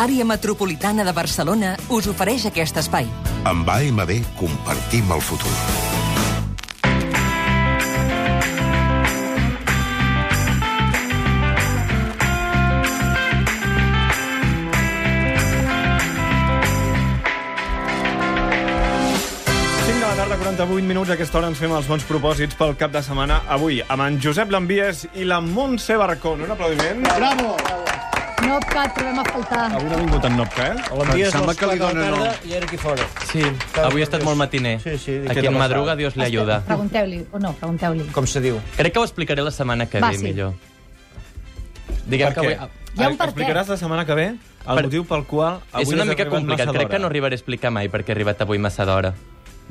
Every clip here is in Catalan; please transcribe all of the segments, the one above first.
Àrea Metropolitana de Barcelona us ofereix aquest espai. Amb AMB compartim el futur. de la tarda, 48 minuts. A aquesta hora ens fem els bons propòsits pel cap de setmana. Avui, amb en Josep Lambies i la Montse Barcón. Un aplaudiment. Bravo! No, que et trobem a faltar. Avui no ha vingut en Nopca, Oh, eh? Bon dia, són les 4 de la tarda nom. i era aquí fora. Sí, avui ha estat molt matiner. Sí, sí, dic, Aquí què en t'ha madruga passat? Dios li ajuda. Pregunteu-li, o no, pregunteu-li. Com se diu? Crec que ho explicaré la setmana que Va, ve, sí. millor. Diguem Per que què? avui... Hi ha un per què. Ah, Explicaràs la setmana que ve el Per- motiu pel qual avui És una has mica arribat complicat, massa crec que no d'hora. arribaré a explicar mai perquè he arribat avui massa d'hora.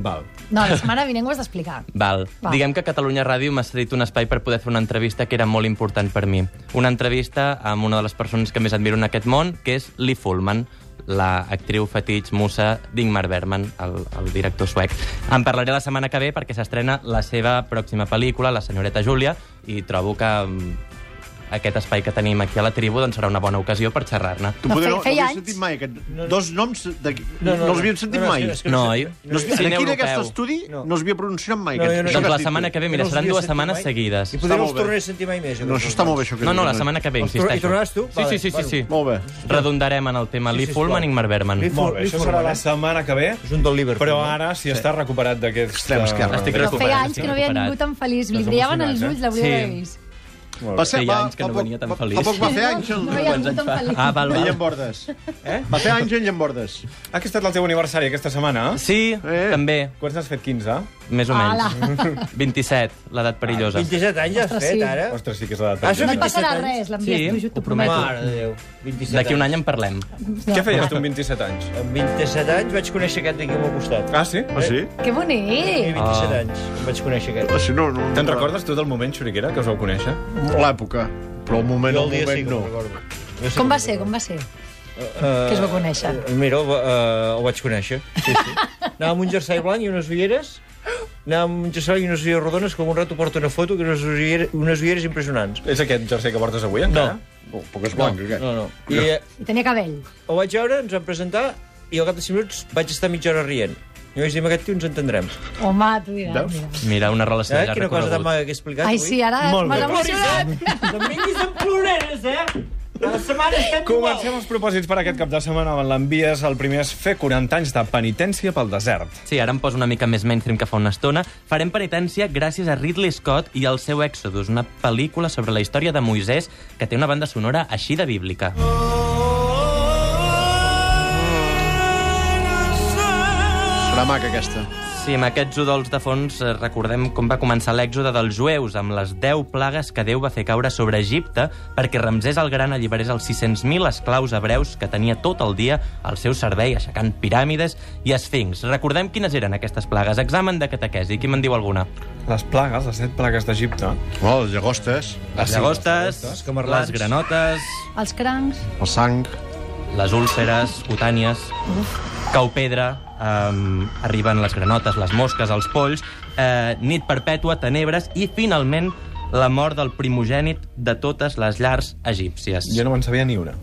Val. No, la setmana vinent ho has d'explicar. Val. Va. Diguem que Catalunya Ràdio m'ha cedit un espai per poder fer una entrevista que era molt important per mi. Una entrevista amb una de les persones que més admiro en aquest món, que és Lee Fullman, la actriu fetitx musa d'Ingmar Bergman, el, el director suec. En parlaré la setmana que ve perquè s'estrena la seva pròxima pel·lícula, La senyoreta Júlia, i trobo que mm, aquest espai que tenim aquí a la tribu doncs serà una bona ocasió per xerrar-ne. No, feia- no, no feia havia anys. sentit mai. Aquest, dos noms de, no, no, no, els havíem no, sentit no, mai. és que- No, oi? No, No, és es, que- Cine aquí en aquest europeu. estudi No. no, es havia pronunciat mai. No, aquest- jo no- això Doncs que la has dit setmana tu. que ve, mira, no els seran havia dues sentit setmanes mai. seguides. I Està podrem molt els bé. tornar a sentir mai més. No, això està molt bé, això que No, no, la dius. eh. setmana que ve, Els tor- insisteixo. hi tornaràs tu? Sí, Vale, sí, sí, sí, bueno. sí. Molt bé. Redondarem en el tema Lee sí, Fullman sisplau. i Ingmar Bergman. Lee Full- Molt bé, això serà la setmana que ve. És un del Liverpool. Però ara, si estàs recuperat d'aquest... Extrem esquerra. Estic Però recuperat, feia anys estic que no havia recuperat. ningú tan feliç. Li Estàs brillaven els emocionat, ulls, l'hauria eh? d'haver vist. Va ser, Feia va- anys que va no poc- venia tan va- feliç. Fa poc va fer anys No, en no hi ha ningú tan feliç. Ah, val, en val. Llambordes. Eh? Va fer anys en Llambordes. Aquest ha estat el teu aniversari aquesta setmana, eh? Sí, Eh. també, Quants n'has fet? 15? més o menys. Ala. 27, l'edat perillosa. 27 anys ja has Ostres, fet, sí. ara? Ostres, sí que és l'edat. Ah, sí? No perillosa. et passarà 27 anys? res, l'envies, Sí, sí, t'ho ho prometo. prometo. Mare de Déu. 27 D'aquí un anys. any en parlem. Què feies tu amb 27 anys? Amb 27 anys vaig conèixer aquest d'aquí al meu costat. Ah, sí? Ah, sí? Que Tenia bonic! 27 Ah. anys, quan vaig conèixer aquest. Ah, sí, no, no, Te'n no. recordes tu del moment, Xuriquera, que us vau conèixer? L'època. Però el moment, Jo el dia sí moment que no. me'n recordo. Jo sí que Com me'n va ser, com va ser? Eh, Que es va conèixer. Mira, ho, uh, ho vaig conèixer. Sí, sí. Anava amb un jersei blanc i unes ulleres. Anava amb un jersei i unes ulleres rodones, com un rato porta una foto, que unes ulleres, unes ulleres impressionants. És aquest jersei que portes avui, encara? Oh, Poc és blanc, aquest. no, no. I eh, I tenia cabell. ho vaig veure, ens vam presentar, i al cap de 5 minuts vaig estar mitja hora rient. I vaig dir, amb aquest tio ens entendrem. Home, tu diràs, Veus? mira. Mira, una relació Eh? ja Quina cosa tan recorregut. maca que he explicat Ai, avui. sí, ara Molt m'has bé. emocionat. No em vinguis amb ploreres, eh? A la setmana estem Comencem els propòsits per aquest cap de setmana on l'envies. El primer és fer 40 anys de penitència pel desert. Sí, ara em poso una mica més mainstream que fa una estona. Farem penitència gràcies a Ridley Scott i el seu Exodus, una pel·lícula sobre la història de Moisès que té una banda sonora així de bíblica. Serà maca, aquesta. Sí, amb aquests udols de fons eh, recordem com va començar l'èxode dels jueus amb les 10 plagues que Déu va fer caure sobre Egipte perquè Ramsès el Gran alliberés els 600.000 esclaus hebreus que tenia tot el dia al seu servei aixecant piràmides i esfinx. Recordem quines eren aquestes plagues. Examen de catequesi. Qui me'n diu alguna? Les plagues, les set plagues d'Egipte. Oh, les llagostes, Les llagostes, les camarlans. les granotes, Els crancs. el sang... les úlceres cutànies, cau pedra, eh, arriben les granotes, les mosques, els polls, eh, nit perpètua, tenebres i, finalment, la mort del primogènit de totes les llars egípcies. Jo no me'n sabia ni una.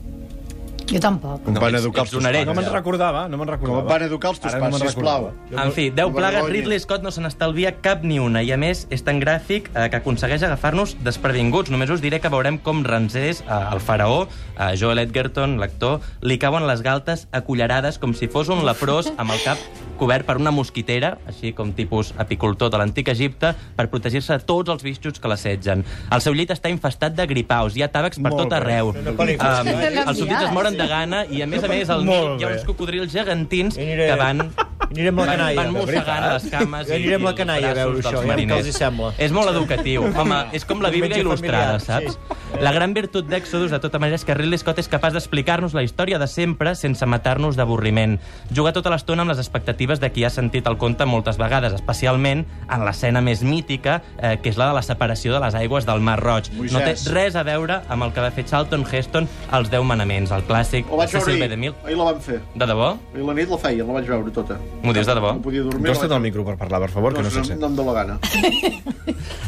Jo tampoc. Com No, van ets- educar ets els teus un herent. No me'n pares. recordava, no me'n recordava. Com et van educar els teus Ara pares, me'n sisplau. recordava. En fi, 10 no plagues, vergonya. Ridley Scott no se n'estalvia cap ni una, i a més és tan gràfic eh, que aconsegueix agafar-nos desprevinguts. Només us diré que veurem com Ramsès, eh, el faraó, eh, Joel Edgerton, l'actor, li cauen les galtes a cullerades com si fos un leprós amb el cap cobert per una mosquitera, així com tipus apicultor de l'antic Egipte, per protegir-se de tots els bitxos que l'assetgen. El seu llit està infestat de gripaus, hi ha tàvecs per Molt tot bé. arreu. Una pel·lícula. Um, els súbdits es moren de gana i, a més a més, al Molt nit hi ha bé. uns cocodrils gegantins Aniré- que van Anirem a la Van, canalla. van mossegant les cames i, Ja anirem a la i canalla a els veure braços això, dels ja, què mariners. els hi sembla. És molt educatiu. Home, és com la Bíblia Diumenge il·lustrada, familiar, saps? La gran virtut d'Èxodus, de tota manera, és que Ridley Scott és capaç d'explicar-nos la història de sempre sense matar-nos d'avorriment. Jugar tota l'estona amb les expectatives de qui ha sentit el conte moltes vegades, especialment en l'escena més mítica, eh, que és la de la separació de les aigües del Mar Roig. No té Moisès. res a veure amb el que va fer Charlton Heston als Deu Manaments, el clàssic Ho vaig Cecil veure B. DeMille. ahir. Ahir la van fer. De debò? Ahir la nit la feien, la vaig veure tota. M'ho dius de debò? No podia dormir. Doncs Costa't el micro per parlar, per favor, que no se sent. No em dóna la gana.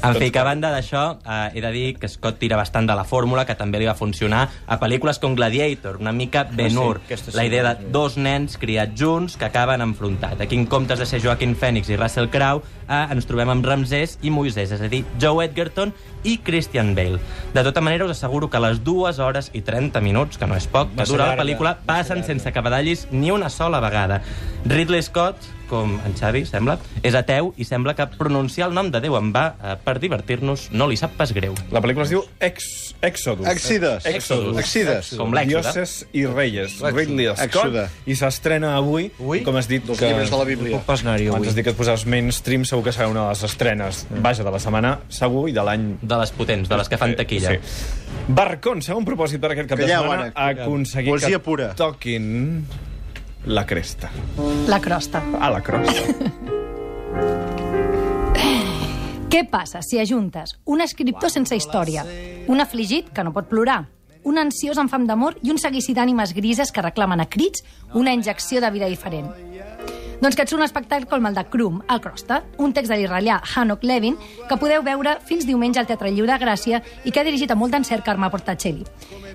En fi, que a banda d'això, eh, he de dir que Scott tira bastant de la fórmula, que també li va funcionar a pel·lícules com Gladiator, una mica Ben-Hur. Ah, sí, aquesta sí. la idea de dos nens criats junts que acaben enfrontats. Aquí, en comptes de ser Joaquin Phoenix i Russell Crowe, eh, ens trobem amb Ramsès i Moisès, és a dir, Joe Edgerton i Christian Bale. De tota manera, us asseguro que les dues hores i 30 minuts, que no és poc, que Massa dura la llarga, pel·lícula, massa passen llarga. sense que badallis ni una sola vegada. Ridley Scott, com en Xavi, sembla, és ateu i sembla que pronunciar el nom de Déu en va eh, per divertir-nos no li sap pas greu. La pel·lícula es diu Ex... Exodus. Exides. Exodus. Exides. Com l'Èxode. Dioses i Reyes, L'Èxode. Ridley Scott, Èxode. i s'estrena avui, Avui? i com has dit... Dels llibres de la Bíblia. Puc pas anar-hi Abans avui. has dit que et posaves mainstream, segur que serà una de les estrenes, vaja, de la setmana, segur, i de l'any... Eh, De les potents, de les que Eh, fan taquilla. Sí, Sí. Barcon, segon propòsit per aquest cap Calleu, de setmana, ara, calleu. aconseguir Poesia que pura. toquin la cresta. La crosta. A la crosta. Què passa si ajuntes un escriptor sense història, un afligit que no pot plorar, un ansiós en fam d'amor i un seguici d'ànimes grises que reclamen a crits una injecció de vida diferent? Doncs que et surt un espectacle com el de Krum, al Crosta, un text de l'israelià Hanok Levin, que podeu veure fins diumenge al Teatre Lliure de Gràcia i que ha dirigit amb molt d'encert Carme Portacelli.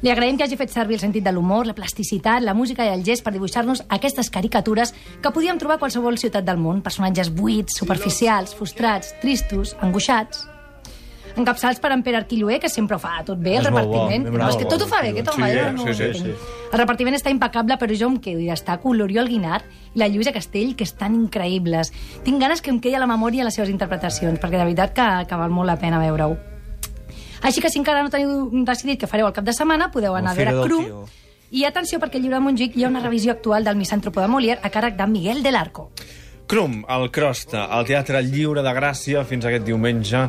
Li agraïm que hagi fet servir el sentit de l'humor, la plasticitat, la música i el gest per dibuixar-nos aquestes caricatures que podíem trobar a qualsevol ciutat del món, personatges buits, superficials, frustrats, tristos, angoixats... Encapçals per en Pere Arquilloé, que sempre ho fa tot bé, el És molt bo, repartiment. és no, és que molt tot ho bo, fa bé, aquest home. Sí, jo eh? no Sí, sí, entenc. El repartiment està impecable, però jo em quedo i destaco l'Oriol Guinart i la Lluïsa Castell, que estan increïbles. Tinc ganes que em quedi a la memòria les seves interpretacions, perquè de veritat que, que val molt la pena veure-ho. Així que si encara no teniu decidit què fareu el cap de setmana, podeu anar a Fira veure del Crum. Tio. I atenció, perquè al Llibre de Montjuïc hi ha una revisió actual del Misantropo de Molière a càrrec de Miguel de l'Arco. Crum, al Crosta, al Teatre Lliure de Gràcia, fins aquest diumenge,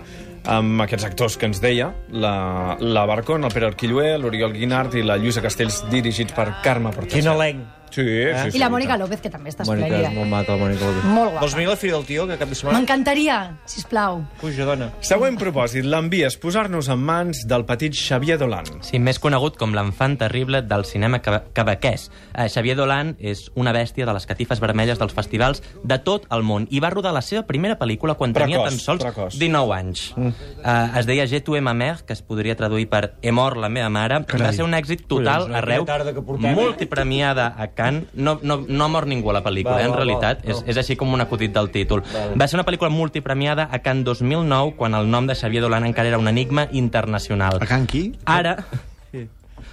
amb aquests actors que ens deia, la, la Barcon, el Pere Arquilloé, l'Oriol Guinart i la Lluïsa Castells, dirigits per Carme Portesa. Quin elenc. Sí, sí, sí. I la Mònica López, que també està Mònica, és esplèndida. molt maca, la Mònica. López. Molt guapa. Vols venir a la Fira del Tio, que cap de setmana? M'encantaria, si us plau. Puja, dona. Següent propòsit, l'envies posar-nos en mans del petit Xavier Dolan. sí més conegut com l'enfant terrible del cinema caba- quebequès. Eh, Xavier Dolan és una bèstia de les catifes vermelles dels festivals de tot el món i va rodar la seva primera pel·lícula quan tenia Precoç, tan sols precoç. 19 anys. Mm. Uh, es deia Je tué ma mère, que es podria traduir per He mort la meva mare. Carai. Va ser un èxit total Collons, no? arreu, Quina tarda que portem. eh? multipremiada a Cannes. No, no, no mor ningú a la pel·lícula, Va, eh, en va, va, realitat. no. és, és així com un acudit del títol. Va ser una pel·lícula multipremiada a Cannes 2009, quan el nom de Xavier Dolan encara era un enigma internacional. A Can qui? Ara...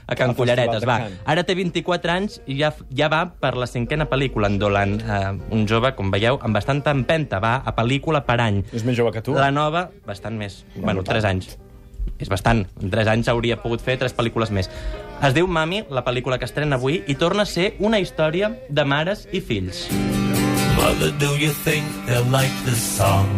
A Can Culleretes, de va. Can. Ara té 24 anys i ja, ja va per la cinquena pel·lícula en Dolan. Eh, un jove, com veieu, amb bastanta empenta. Va a pel·lícula per any. És més jove que tu? La nova, bastant més. bueno, 3 anys. És bastant. En 3 anys hauria pogut fer 3 pel·lícules més. Es diu Mami, la pel·lícula que estrena avui, i torna a ser una història de mares i fills. Mother, do you think they'll like this song?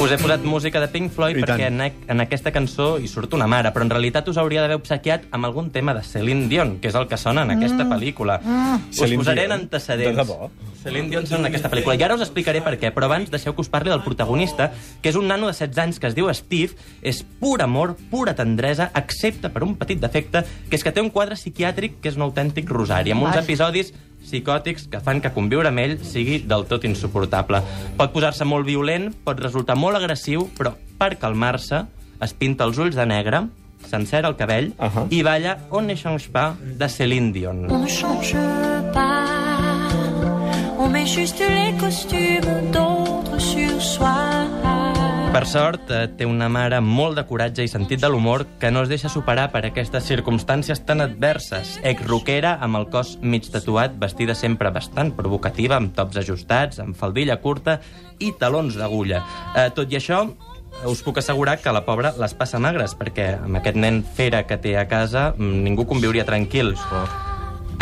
Us he posat música de Pink Floyd I perquè tant. en, ac- en aquesta cançó hi surt una mare, però en realitat us hauria d'haver obsequiat amb algun tema de Celine Dion, que és el que sona en aquesta pel·lícula. Us Celine posaré en Dion? antecedents. De debò? Celine Dion sona en aquesta pel·lícula. I ara us explicaré per què, però abans deixeu que us parli del protagonista, que és un nano de 16 anys que es diu Steve, és pur amor, pura tendresa, excepte per un petit defecte, que és que té un quadre psiquiàtric que és un autèntic rosari, amb uns Vaja. episodis episodis psicòtics que fan que conviure amb ell sigui del tot insuportable. Pot posar-se molt violent, pot resultar molt agressiu, però per calmar-se es pinta els ulls de negre, s'encera el cabell uh Ahà. -huh. i balla On ne change pas de Celine Dion. On change pas, on met juste les costumes d'autres sur soi. Per sort, eh, té una mare molt de coratge i sentit de l'humor que no es deixa superar per aquestes circumstàncies tan adverses. Ex-roquera, amb el cos mig tatuat, vestida sempre bastant provocativa, amb tops ajustats, amb faldilla curta i talons d'agulla. Eh, tot i això, us puc assegurar que la pobra les passa magres, perquè amb aquest nen fera que té a casa mm, ningú conviuria tranquil.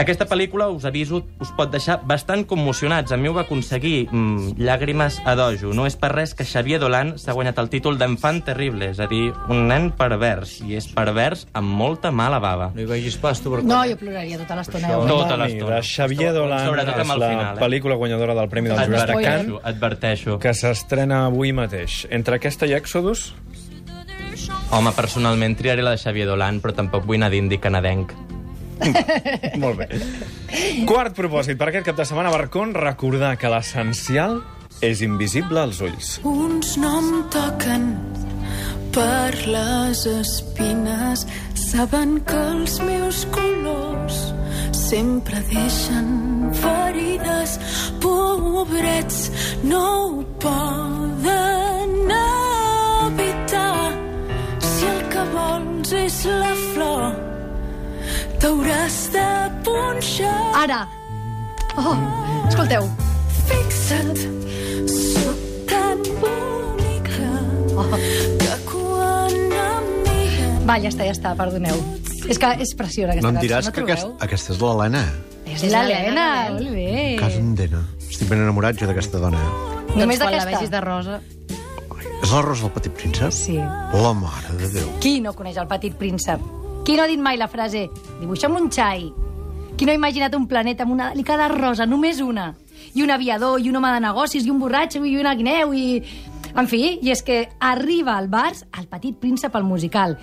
Aquesta pel·lícula, us aviso, us pot deixar bastant commocionats. A mi ho va aconseguir mm, llàgrimes a dojo. No és per res que Xavier Dolan s'ha guanyat el títol d'enfant terrible, és a dir, un nen pervers, i és pervers amb molta mala bava. No hi vagis pas, tu, No, jo ploraria tota l'estona. Això- eh? Tota Mami, l'estona. De Xavier Dolan Sobretot és amb el la final, eh? pel·lícula guanyadora del Premi del Jurat de Cannes, Adverteixo, adverteixo. que s'estrena avui mateix. Entre aquesta i Exodus, Home, personalment triaré la de Xavier Dolan, però tampoc vull anar d'indi canadenc. Molt bé. Quart propòsit per aquest cap de setmana, Barcon, recordar que l'essencial és invisible als ulls. Uns no em toquen per les espines. Saben que els meus colors sempre deixen ferides. Pobrets, no ho poden evitar. Si el que vols és la flor, t'hauràs de eh? punxar. Ara. Oh, escolteu. Fixa't, sóc tan bonica que quan em miren... Va, ja està, ja està, perdoneu. És que és preciosa aquesta No em cançó, diràs no que trobeu? aquest, aquesta és l'Helena. És l'Helena, molt bé. Casandena. Estic ben enamorat jo d'aquesta dona. Només quan la d'aquesta? vegis de rosa... És la Rosa del Petit Príncep? Sí. La mare de Déu. Qui no coneix el petit príncep? Qui no ha dit mai la frase dibuixa'm un xai? Qui no ha imaginat un planeta amb una delicada rosa, només una? I un aviador, i un home de negocis, i un borratxo, i una guineu, i... En fi, i és que arriba al Bars el petit príncep al musical.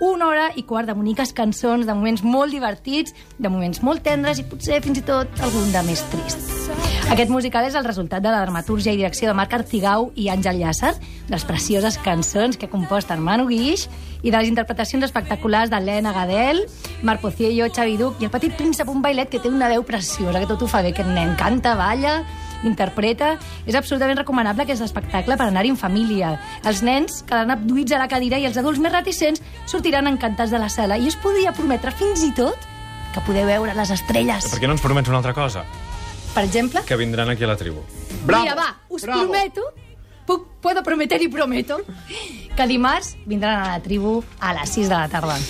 Una hora i quart de boniques cançons, de moments molt divertits, de moments molt tendres i potser fins i tot algun de més trist. Aquest musical és el resultat de la dramatúrgia i direcció de Marc Artigau i Àngel Llàcer, de les precioses cançons que ha compost en Manu Guix i de les interpretacions espectaculars d'Helena Gadel, Marc Pociello, Xavi Duc i el petit príncep, un bailet que té una veu preciosa, que tot ho fa bé, que nen canta, balla, interpreta. És absolutament recomanable aquest espectacle per anar-hi en família. Els nens quedaran abduïts a la cadira i els adults més reticents sortiran encantats de la sala i us podria prometre fins i tot que podeu veure les estrelles. Per què no ens promets una altra cosa? Per exemple, Que vindran aquí a la tribu. Bravo, Mira, va, us bravo. prometo, puc, puedo prometer i prometo, que dimarts vindran a la tribu a les 6 de la tarda.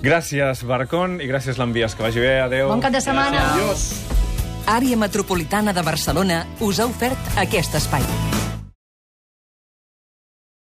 Gràcies, Barcon, i gràcies, l'envies. Que vagi bé, adeu. Bon cap de setmana. Àrea Metropolitana de Barcelona us ha ofert aquest espai.